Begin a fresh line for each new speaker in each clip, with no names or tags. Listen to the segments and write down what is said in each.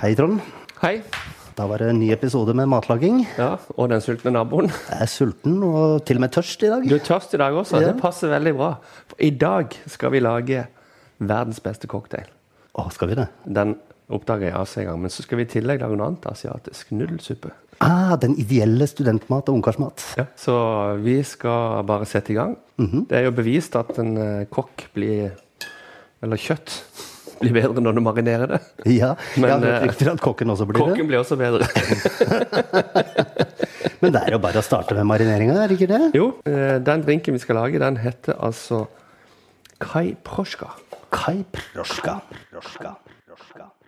Hei, Trond.
Hei.
Da var det en ny episode med matlaging.
Ja, og den sultne naboen.
Jeg er sulten og til og med tørst i dag.
Du er tørst i dag også.
Ja.
Det passer veldig bra. For I dag skal vi lage verdens beste cocktail.
Å, skal vi det?
Den oppdager jeg Asia en gang. Men så skal vi i tillegg lage noe annet asiatisk. Nudelsuppe.
Ah, den ideelle studentmat og ungkarsmat.
Så vi skal bare sette i gang. Det er jo bevist at en eh, kokk blir Eller kjøtt blir bedre når du marinerer det.
Ja,
Men,
jeg har hørt
eh,
rykter at kokken også blir
Kokken blir også bedre.
det. Men det er jo bare å starte med marineringa, er det ikke det?
Jo, eh, den drinken vi skal lage, den heter altså Kai Proshka.
Kai Proska. Proska. Proska.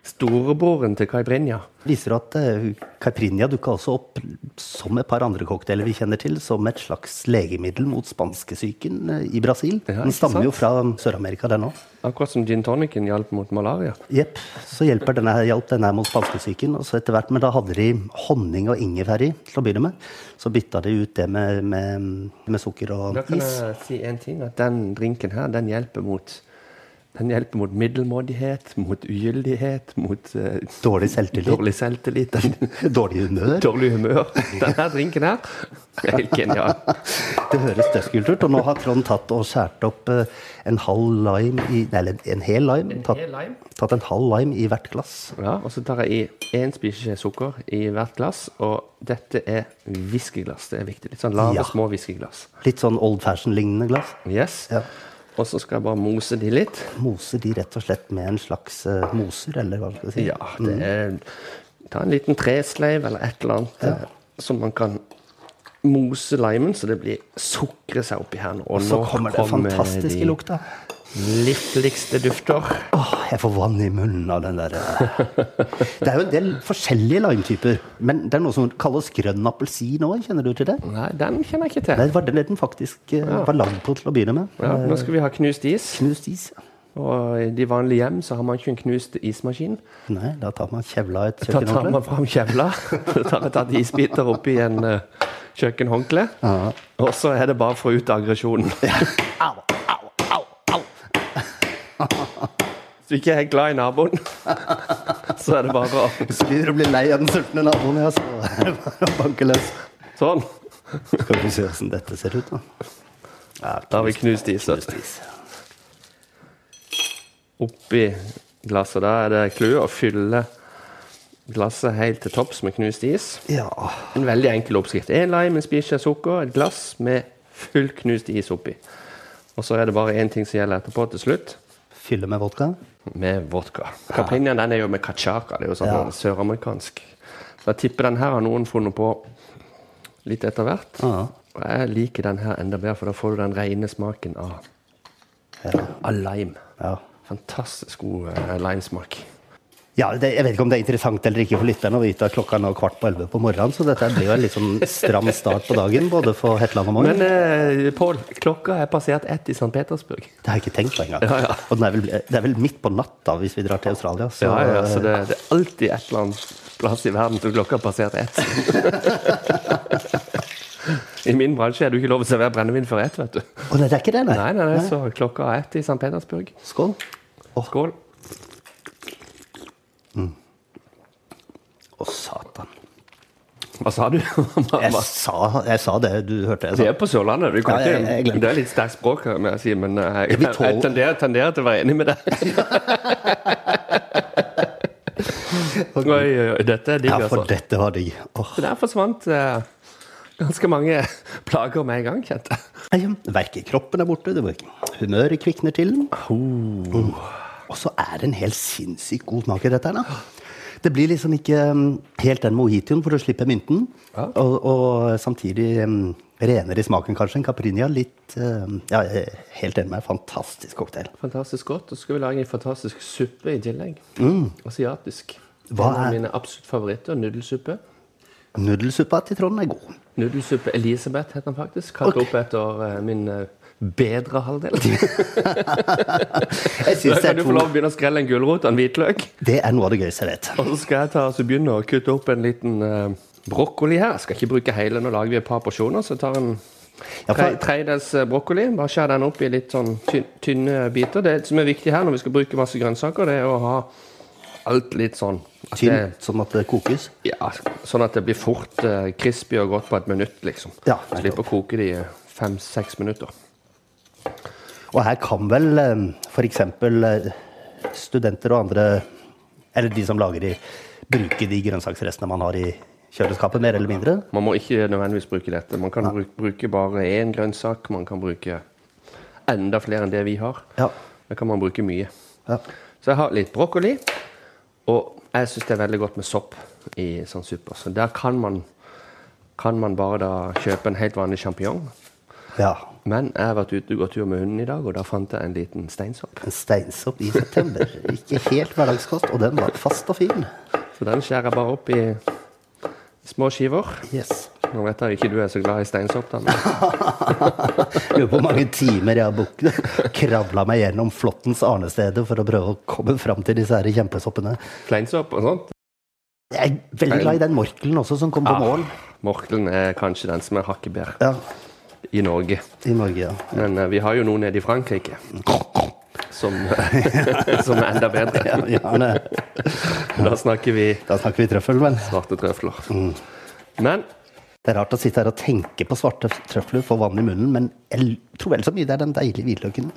Storebroren til Kai Brinja.
Viser du at eh, caipirinha dukka også opp som et par andre cocktailer vi kjenner til, som et slags legemiddel mot spanskesyken eh, i Brasil?
Ja,
Den
ikke sant?
stammer jo fra Sør-Amerika, den òg.
Akkurat som gin tonicen hjalp mot malaria.
Jepp. Så hjelper denne her, hjalp denne her mot spanskesyken. Og så etter hvert, men da hadde de honning og ingefær i til å begynne med. Så bytta de ut det med, med, med sukker og
Da kan
is.
jeg si en ting, at den drinken her, den hjelper mot den hjelper mot middelmådighet, mot ugyldighet, mot eh,
Dårlig selvtillit.
dårlig selvtillit, den,
Dårlig humør.
dårlig humør. Denne drinken her er helt genial.
Det høres dødskult ut. Og nå har Trond tatt og skåret opp eh, en halv lime i Nei, eller en hel lime.
En
Tatt,
hel lime?
tatt en halv lime i hvert glass.
Ja, og så tar jeg i én spiseskje sukker i hvert glass, og dette er whiskyglass. Det er viktig. Litt sånn lave,
Ja.
små whiskyglass.
Litt sånn old fashion-lignende glass.
Yes.
Ja.
Og så skal jeg bare mose de litt.
Moser de rett og slett med en slags eh, moser, eller hva skal jeg si. Mm.
Ja, det er Ta en liten tresleiv eller et eller annet eh, som man kan mose limen, så det blir sukre seg oppi her nå. Og
Så
nå
kommer det fantastiske
de
lukta.
Lykkeligste dufter.
Åh, jeg får vann i munnen av den der. eh. Det er jo en del forskjellige limetyper. Men det er noe som kalles grønn appelsin òg, kjenner du til det?
Nei, den kjenner jeg ikke til.
Nei, det var den den faktisk eh, var lagd på til å begynne med.
Ja, nå skal vi ha knust is.
Knust is.
Og i de vanlige hjem så har man ikke en knust ismaskin.
Nei, da tar man kjevla i et
Da tar
kjøkkenhåndkle.
man fram kjevla. Så tar jeg tatt isbiter oppi en eh, kjøkkenhåndkle.
Ja.
Og så er det bare for å få ut aggresjonen.
Au, au, au, au.
Hvis du ikke er glad i naboen, så er det bare å
Hvis du begynner å bli lei av den sultne naboen, ja, så er det bare å banke løs.
Sånn.
Skal vi se åssen dette ser ut, da. Ja,
Da har vi knust is. vet du.
knust is.
Oppi glasset. Da er det clouet å fylle glasset helt til topps med knust is.
Ja.
En veldig enkel oppskrift. En lime, en spiseskje sukker, et glass med full knust is oppi. Og så er det bare én ting som gjelder etterpå til slutt.
Fylle med vodka.
Med vodka. Caipirinhaen den er jo med kachaka. Det er jo sånn
Ja.
søramerikansk. Så jeg tipper den her har noen funnet på litt etter hvert.
Ja.
Og jeg liker den her enda bedre, for da får du den rene smaken av,
Ja.
av lime.
ja.
Fantastisk god eh, limesmak.
Ja, det, Jeg vet ikke om det er interessant eller ikke for lytterne å vite at klokka er nå kvart på elleve på morgenen, så dette blir jo en litt sånn stram start på dagen, både for Hetland og Morgen.
Men eh, Pål, klokka er passert ett i St. Petersburg.
Det har jeg ikke tenkt på engang.
Ja, ja.
Og den er vel, det er vel midt på natta hvis vi drar til Australia. Så,
Ja, ja, så det, det er alltid et eller annet plass i verden til klokka har passert ett. I min bransje er det jo ikke lov å servere brennevin før ett, vet du.
Å, nei, det er ikke det, nei.
Nei, nei, nei, så klokka er ett i St. Petersburg.
Skål.
Skål.
Å, satan.
Hva sa du? Hva-
Jeg
hva-
sa, jeg sa det du hørte. Jeg
Vi
sa.
er på Sørlandet. Du kan
Ja, jeg- jeg
ikke,
glemte.
det er litt sterkt språk, her, må jeg si, men eh, jeg,
vi
jeg,
tåler-
tenderer, tenderer til å være enig med deg. Oi, oi, oi. Dette er digg,
Ja,
altså.
for dette var digg. Åh.
Så Der forsvant eh, ganske mange plager med en gang, kjente jeg.
Nei, Verket i kroppen er borte, det var ikke- humøret kvikner til.
Oh.
Mm. Og så er det en helt sinnssykt god smak i dette her, da. Det blir liksom ikke um, helt den mojitoen, for du slipper mynten.
Ja.
Og, og samtidig um, renere i smaken, kanskje, enn caipirinha. Litt um, Ja, jeg er helt enig med deg. Fantastisk cocktail.
Fantastisk godt. Og så skal vi lage en fantastisk suppe i tillegg. Asiatisk.
Mm. Hva
en av
er-
mine absolutt favoritter. Nudelsuppe.
Nudelsuppa til Trond er god.
Nudelsuppe Elisabeth heter den faktisk. Kalt
Ok.
opp etter eh, min eh, bedre halvdel.
Jeg
Da
synes det,
kan
er
du få lov
to,
å begynne å skrelle en gulrot og en hvitløk.
det er noe av det gøyeste jeg vet.
Og så skal jeg ta, så begynne å kutte opp en liten eh, brokkoli her. Jeg skal ikke bruke hele, nå lager vi et par porsjoner. Så jeg tar en
Ja,
tre,
for-
tredels eh, brokkoli. Bare skjær den opp i litt sånn tynne, tynne biter. Det som er viktig her når vi skal bruke masse grønnsaker, det er å ha alt litt sånn
Tynn,
det-
sånn at det kokes.
Ja, sånn at det blir fort eh, crispy og godt på et minutt, liksom.
Ja,
Slipper å koke det i fem-seks minutter.
Og her kan vel eh, f.eks. eh, studenter og andre, eller de som lager de, bruke de grønnsaksrestene man har i kjøleskapet, mer eller mindre.
Man må ikke nødvendigvis bruke dette. Man kan bruke, bruke bare én grønnsak. Man kan bruke enda flere enn det vi har.
Ja.
Da kan man bruke mye.
Ja.
Så jeg har litt brokkoli, og jeg syns det er veldig godt med sopp i sånn supper. Så der kan man, kan man bare da kjøpe en helt vanlig sjampinjong.
ja.
Men jeg har vært ute og gått tur med hunden i dag, og da fant jeg en liten steinsopp.
En steinsopp i september. Ikke helt hverdagskost, og den var fast og fin.
Så den skjærer jeg bare opp i små skiver.
Yes.
Nå vet jeg ikke du er så glad i steinsopp, da. Men
Lurer på hvor mange timer jeg har buk- kravla meg gjennom Flåttens arnesteder for å prøve å komme fram til disse her kjempesoppene.
kleinsopp og sånt. Ah.
Jeg er veldig glad i den morkelen også, som kom på mål.
Morkelen er kanskje den som er hakket bedre
Ja,
i Norge.
I Norge, ja.
Men eh, vi har jo noe nede i Frankrike som, som er enda bedre.
ja gjerne.
Da snakker vi
Da snakker vi trøffel, men
svarte trøfler. Men
det er rart å sitte her og tenke på svarte trøfler, få vann i munnen, men jeg l- tror vel så mye det er den deilige hvitløken.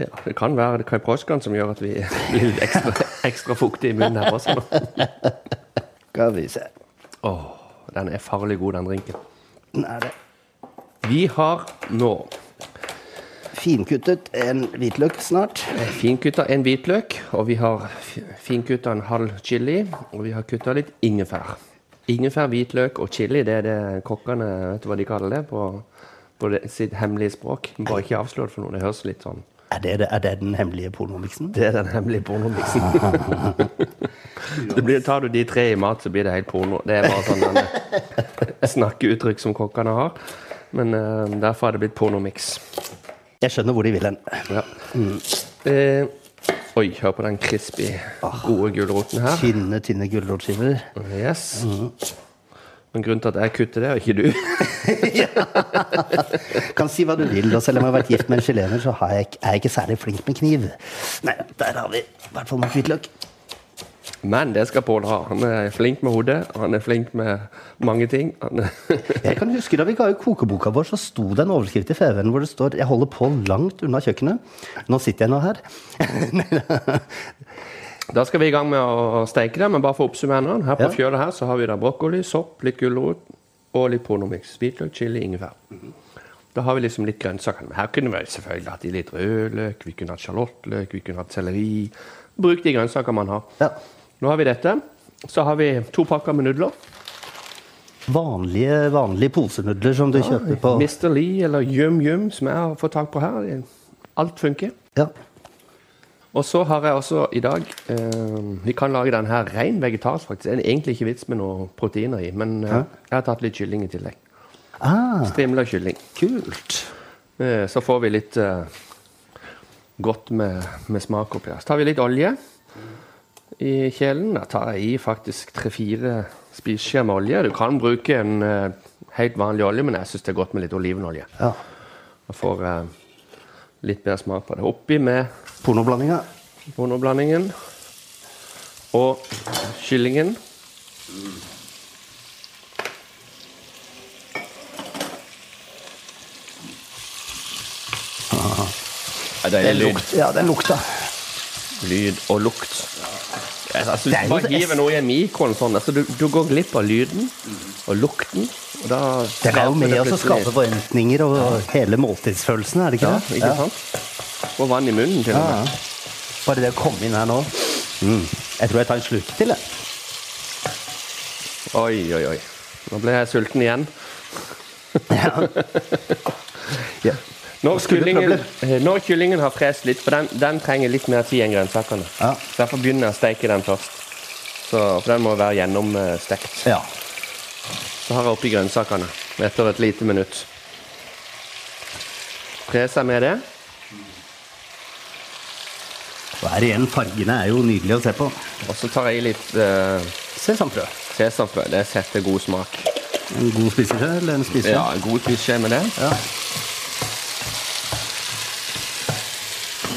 ja, det kan være kaiproskan som gjør at vi blir litt ekstra, ekstra fuktige i munnen her også. nå.
Skal vi se.
Åh, den er farlig god, den drinken.
Den er det
Vi har nå
finkuttet en hvitløk snart.
finkutta en hvitløk, og vi har fi- finkutta en halv chili, og vi har kutta litt ingefær. Ingefær, hvitløk og chili, det er det kokkene vet du hva de kaller det på, på det, sitt hemmelige språk. Bare ikke avslør det for noen. Det høres litt sånn
Er det, er det den hemmelige pornomiksen?
Det er den hemmelige pornomiksen. Det blir, tar du de tre i mat, så blir det helt porno. Det er bare sånn en snakkeuttrykk som kokkene har. Men eh, derfor er det blitt pornomiks.
Jeg skjønner hvor de vil hen.
Ja. Eh, oi, hør på den crispy, gode gulroten her.
Tynne, tynne gulrotskiver.
Yes. Men grunnen til at jeg kutter det, og ikke du
Kan si hva du vil, og selv om jeg har vært gift med en chilener, så har jeg, ikke- er jeg ikke særlig flink med kniv. Nei, der har vi i hvert fall nok hvitløk.
Men det skal Pål ha. Han er flink med hodet, og han er flink med mange ting. Han er
Jeg kan huske Da vi ga ut kokeboka vår, så sto det en overskrift i FVN hvor det står 'Jeg holder på langt unna kjøkkenet'. Nå sitter jeg nå her.
Da skal vi i gang med å steike det, men bare for å oppsummere nå. Her
Ja.
på fjøla her så har vi da brokkoli, sopp, litt gulrot og litt pornomix. Hvitløk, chili, ingefær. Da har vi liksom litt grønnsaker. Men her kunne vi selvfølgelig hatt i litt rødløk, vi kunne hatt sjalottløk, vi kunne hatt selleri. Bruk de grønnsaker man har.
Ja.
Nå har vi dette. Så har vi to pakker med nudler.
Vanlige, vanlige posenudler som du kjøper på
Mr. Lee eller Yum Yum, som jeg har fått tak på her. Alt funker.
ja.
Og så har jeg også i dag eh, Vi kan lage den her ren vegetarisk, faktisk. Det er egentlig ikke vits med noe proteiner i, men eh, jeg har tatt litt kylling i tillegg.
ah,
Strimla kylling.
Kult.
Eh, så får vi litt eh, godt med, med smak oppi her. Så tar vi litt olje i kjelen. Da tar jeg i faktisk tre-fire spiseskjeer med olje. Du kan bruke en eh, helt vanlig olje, men jeg syns det er godt med litt olivenolje.
Ja.
Og får eh, litt bedre smak på det. Oppi med
Pornoblandinga.
Bonoblandingen og kyllingen. Det er deilig lyd.
Ja, den lukta.
lyd og lukt. Altså,
Det er
hvis
jo
du bare
så-
hiver noe i en mikroen sånn, altså, du, du går glipp av lyden og lukten. Og da
Den er jo med oss å
plutselig-
skape forventninger og hele måltidsfølelsen, er det ikke
Ja,
det?
ikke sant? Får vann i munnen til og med.
Bare det å komme inn her nå. Mm. Jeg tror jeg tar en slurk til, jeg.
Oi, oi, oi. Nå ble jeg sulten igjen.
Ja.
Når
skulle
kyllingen,
trøbler.
eh, når kyllingen har frest litt, for den, den trenger litt mer tid enn grønnsakene.
Ja.
Derfor begynner jeg å steke den først. Så, for den må være gjennomstekt.
ja.
Så har jeg oppi grønnsakene etter et lite minutt. Spre seg med det.
Og her igjen, fargene er jo nydelige å se på. sånn,
Og så tar jeg i litt eh,
Sesamfrø.
sesamfrø. Det setter god smak.
En god spiseskje eller en spiseskje?
Ja, en god klisjé med det.
Ja.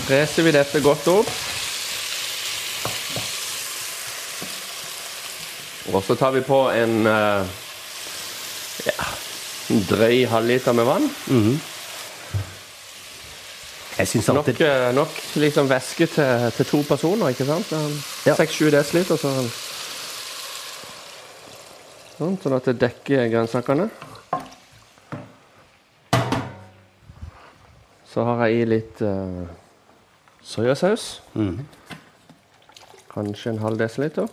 Freser vi dette godt opp. Og så tar vi på en eh, ja, en drøy halvliter med vann.
Jeg syns
Nok,
alltid
eh, nok liksom væske til, til to personer, ikke sant?
Ja.
6-7 dl, så um, Sånn, sånn at det dekker grønnsakene. Så har jeg i litt eh, soyasaus. Kanskje en halv desiliter.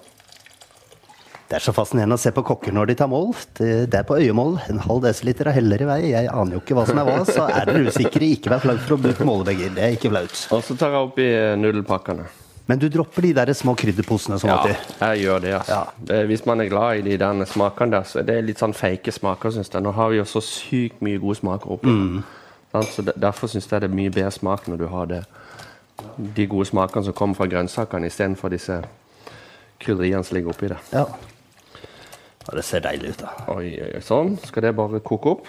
Det er så fascinerende å se på kokker når de tar mål. Det det er på øyemål. En halv desiliter er heller i vei. Jeg aner jo ikke hva som er hva, så er dere usikre. Ikke vær flau for å bruke målebeger. Det er ikke flaut.
Og så tar jeg oppi nudelpakkene.
Men du dropper de der små krydderposene som
Ja,
alltid.
jeg gjør det, altså.
Ja.
Det, hvis man er glad i de der smakene der, så er det litt sånn fake smaker, syns jeg. Nå har vi jo så sykt mye gode smaker oppi. Sant? Så de- derfor syns jeg det er mye bedre smak når du har det. De gode smakene som kommer fra grønnsakene, istedenfor disse krydderiene som ligger oppi det.
Ja. Og det ser deilig ut, da.
Oi, oi, oi, sånn. Skal det bare koke opp?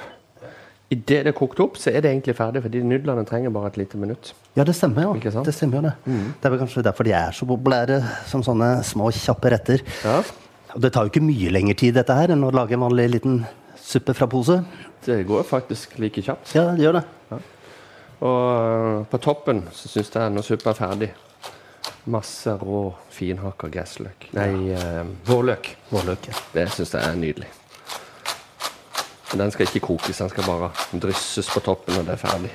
Idet det er kokt opp, så er det egentlig ferdig, fordi nudlene trenger bare et lite minutt.
Ja, det stemmer jo.
Ikke sant? Mm.
Det stemmer jo det. Det er vel kanskje derfor de er så populære som sånne små, kjappe retter.
Ja.
Og det tar jo ikke mye lengre tid dette her enn å lage en vanlig liten suppe fra pose.
Det går faktisk like kjapt.
Ja, det gjør det.
Og eh, på toppen så syns jeg når suppa er ferdig Masse rå, finhakka gressløk. Nei, eh, vårløk.
Vårløk. ja.
Det syns jeg er nydelig. Men Den skal ikke kokes, den skal bare drysses på toppen når det er ferdig.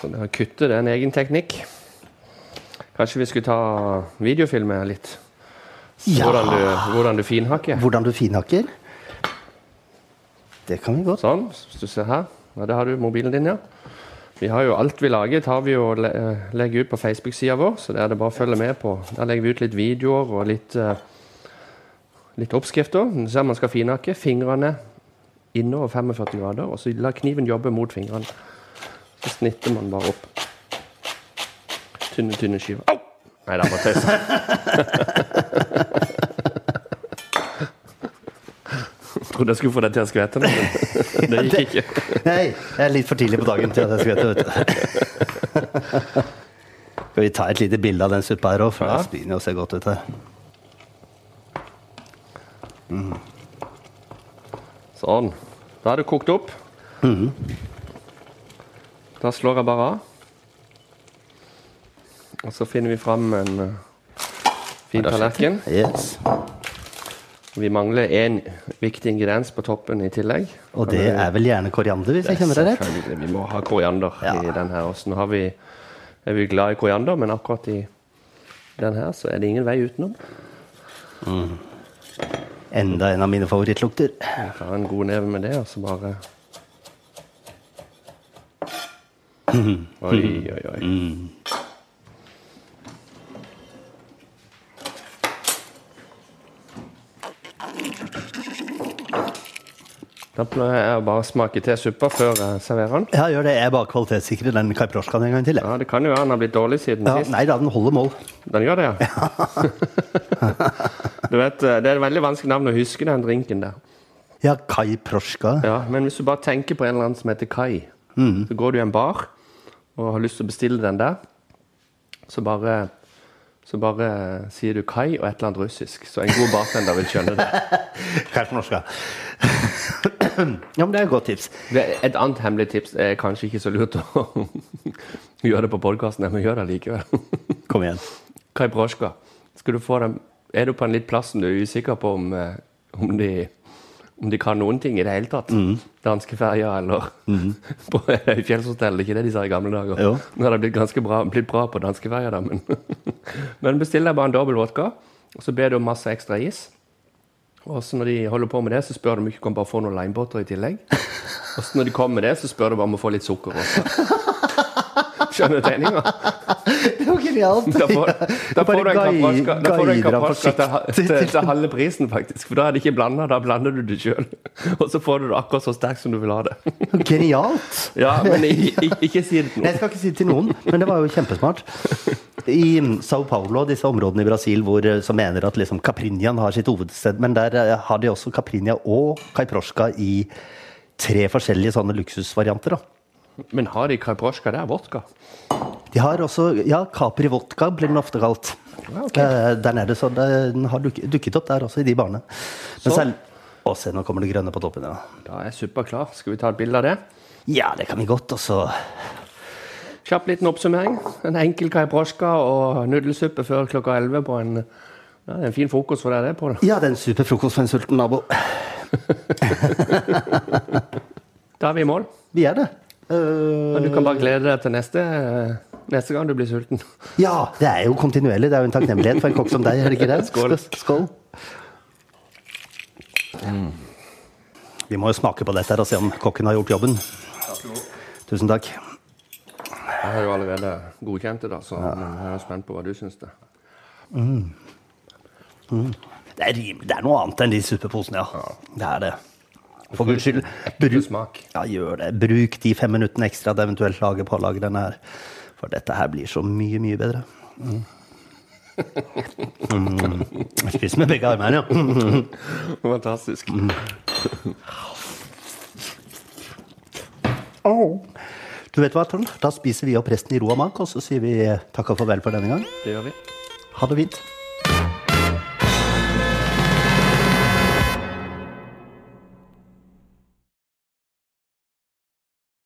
Så det å kutte det er en egen teknikk. Kanskje vi skulle ta videofilme litt?
Ja.
Hvordan du, hvordan du finhakker?
Hvordan du finhakker? Det kan vi godt.
Sånn, hvis du ser her. Ja, der har du mobilen din, ja. Vi har jo alt vi lager, tar vi og le- eh, legger ut på Facebook-sida vår, så der er det bare å følge med på. Der legger vi ut litt videoer og litt, eh, litt oppskrifter. Du ser man skal finhakke. Fingrene innover 45 grader, og så la kniven jobbe mot fingrene. Så snitter man bare opp. Tynne, tynne skiver. Au! Nei, det er bare tøys. Trodde jeg skulle få deg til å skvette, men det gikk ikke.
Nei, jeg er litt for tidlig på dagen til at jeg skal vite det. Skal vi ta et lite bilde av den suppa her òg, for
Ja.
det begynner jo å se godt ut her.
Sånn. Da er det kokt opp. Da slår jeg bare av. Og så finner vi fram en eh, fin tallerken.
Yes.
Vi mangler én viktig ingrediens på toppen i tillegg.
Og det er vel gjerne koriander, hvis jeg kjenner det rett?
Selvfølgelig, Vi må ha koriander
Ja.
i den her. Også. Nå har vi, er vi glad i koriander, men akkurat i den her så er det ingen vei utenom.
Enda en av mine favorittlukter.
Ta en god neve med det, og så bare Oi, oi, oi. Da pleier jeg å bare smake til suppa før jeg serverer den.
Ja, gjør det. Jeg bare kvalitetssikrer den kaiprosjkaen en gang til. jeg.
Ja, Det kan jo være den har blitt dårlig siden
Ja,
sist.
nei da, den holder mål.
Den gjør det, ja? du vet, eh, Det er et veldig vanskelig navn å huske, den drinken der.
Ja, kaiprosjka.
Ja, Men hvis du bare tenker på en eller annen som heter Kai, så går du i en bar og har lyst til å bestille den der, så bare, så bare sier du Kai og et eller annet russisk. Så en god bartender vil skjønne det.
Kaiprosjka. Ja, men det er et godt tips.
det et annet hemmelig tips er kanskje ikke så lurt å gjøre det på podkasten, men gjør det likevel.
Kom igjen.
Kai Broschka, skal du få dem Er du på en litt plassen du er usikker på om, eh, om de om de kan noen ting i det hele tatt? Danske ferja eller på Høyfjellshotell, ikke det de sa i gamle dager?
Jo.
Nå har det blitt ganske bra, blitt bra på danske ferja, da, men Men bestill deg bare en dobbel vodka, og så ber du om masse ekstra is. Og så når de holder på med det, så spør de om ikke kan bare få noen limebutter i tillegg. Og så når de kommer med det, så spør de bare om å få litt sukker også. Skjønner du tegninga?
Det var genialt.
Da får, da får du en kapraska, da får du en kapraska til, ha-
forsiktig
til, til halve prisen, faktisk. For da er det ikke blanda, da blander du det sjøl. Og så får du det akkurat så sterkt som du vil ha det.
Genialt!
Ja, men i- i- ikke si det til
Nei,
noen.
Jeg skal ikke si det til noen, men det var jo kjempesmart. I Sao Paulo og disse områdene i Brasil hvor, eh, som mener at liksom Caprinian har sitt hovedsted, men der eh, har de også Caprinia og Kaiprosjka i tre forskjellige sånne luksusvarianter. da.
Men har de kapraska der, vodka?
De har også ja, Capri Vodka blir den ofte kalt.
Ja, Ah, ok.
Eh, der nede, så det- den har duk, dukket opp der også, i de barene. Men
Så.
selv Å, se, nå kommer det grønne på toppen. Ja,
Da er suppa klar. Skal vi ta et bilde av det?
ja det kan vi godt. Og så
Kjapp liten oppsummering. En enkel kaiproska og nudelsuppe før klokka 11 på en, ja, en fin frokost for deg, det, Pål.
Ja, det er en super frokost for en sulten nabo.
Da er vi i mål.
Vi er det.
Men
Eh,
Du kan bare glede deg til neste, eh, neste gang du blir sulten.
ja, det er jo kontinuerlig. Det er jo en takknemlighet for en kokk som deg. er det ikke det?
Skål.
Skål. Mm. Vi må jo smake på dette her og se om kokken har gjort jobben. Tusen takk.
Jeg har jo allerede godkjent det, da, så jeg er spent på hva du syns. det.
Det er, rim, det er noe annet enn de suppeposene, ja. Det er det. For guds skyld.
Du
Bruk,
smak.
ja, gjør det. Bruk de fem minuttene ekstra det eventuelt lager pålager denne her. For dette her blir så mye, mye bedre. Mm. Mm. Spis med begge armene, ja.
Fantastisk.
Du vet hva, Trond? Da spiser vi opp resten i ro og mak, og så sier vi takk og farvel for denne gang.
Det gjør vi.
Ha det fint.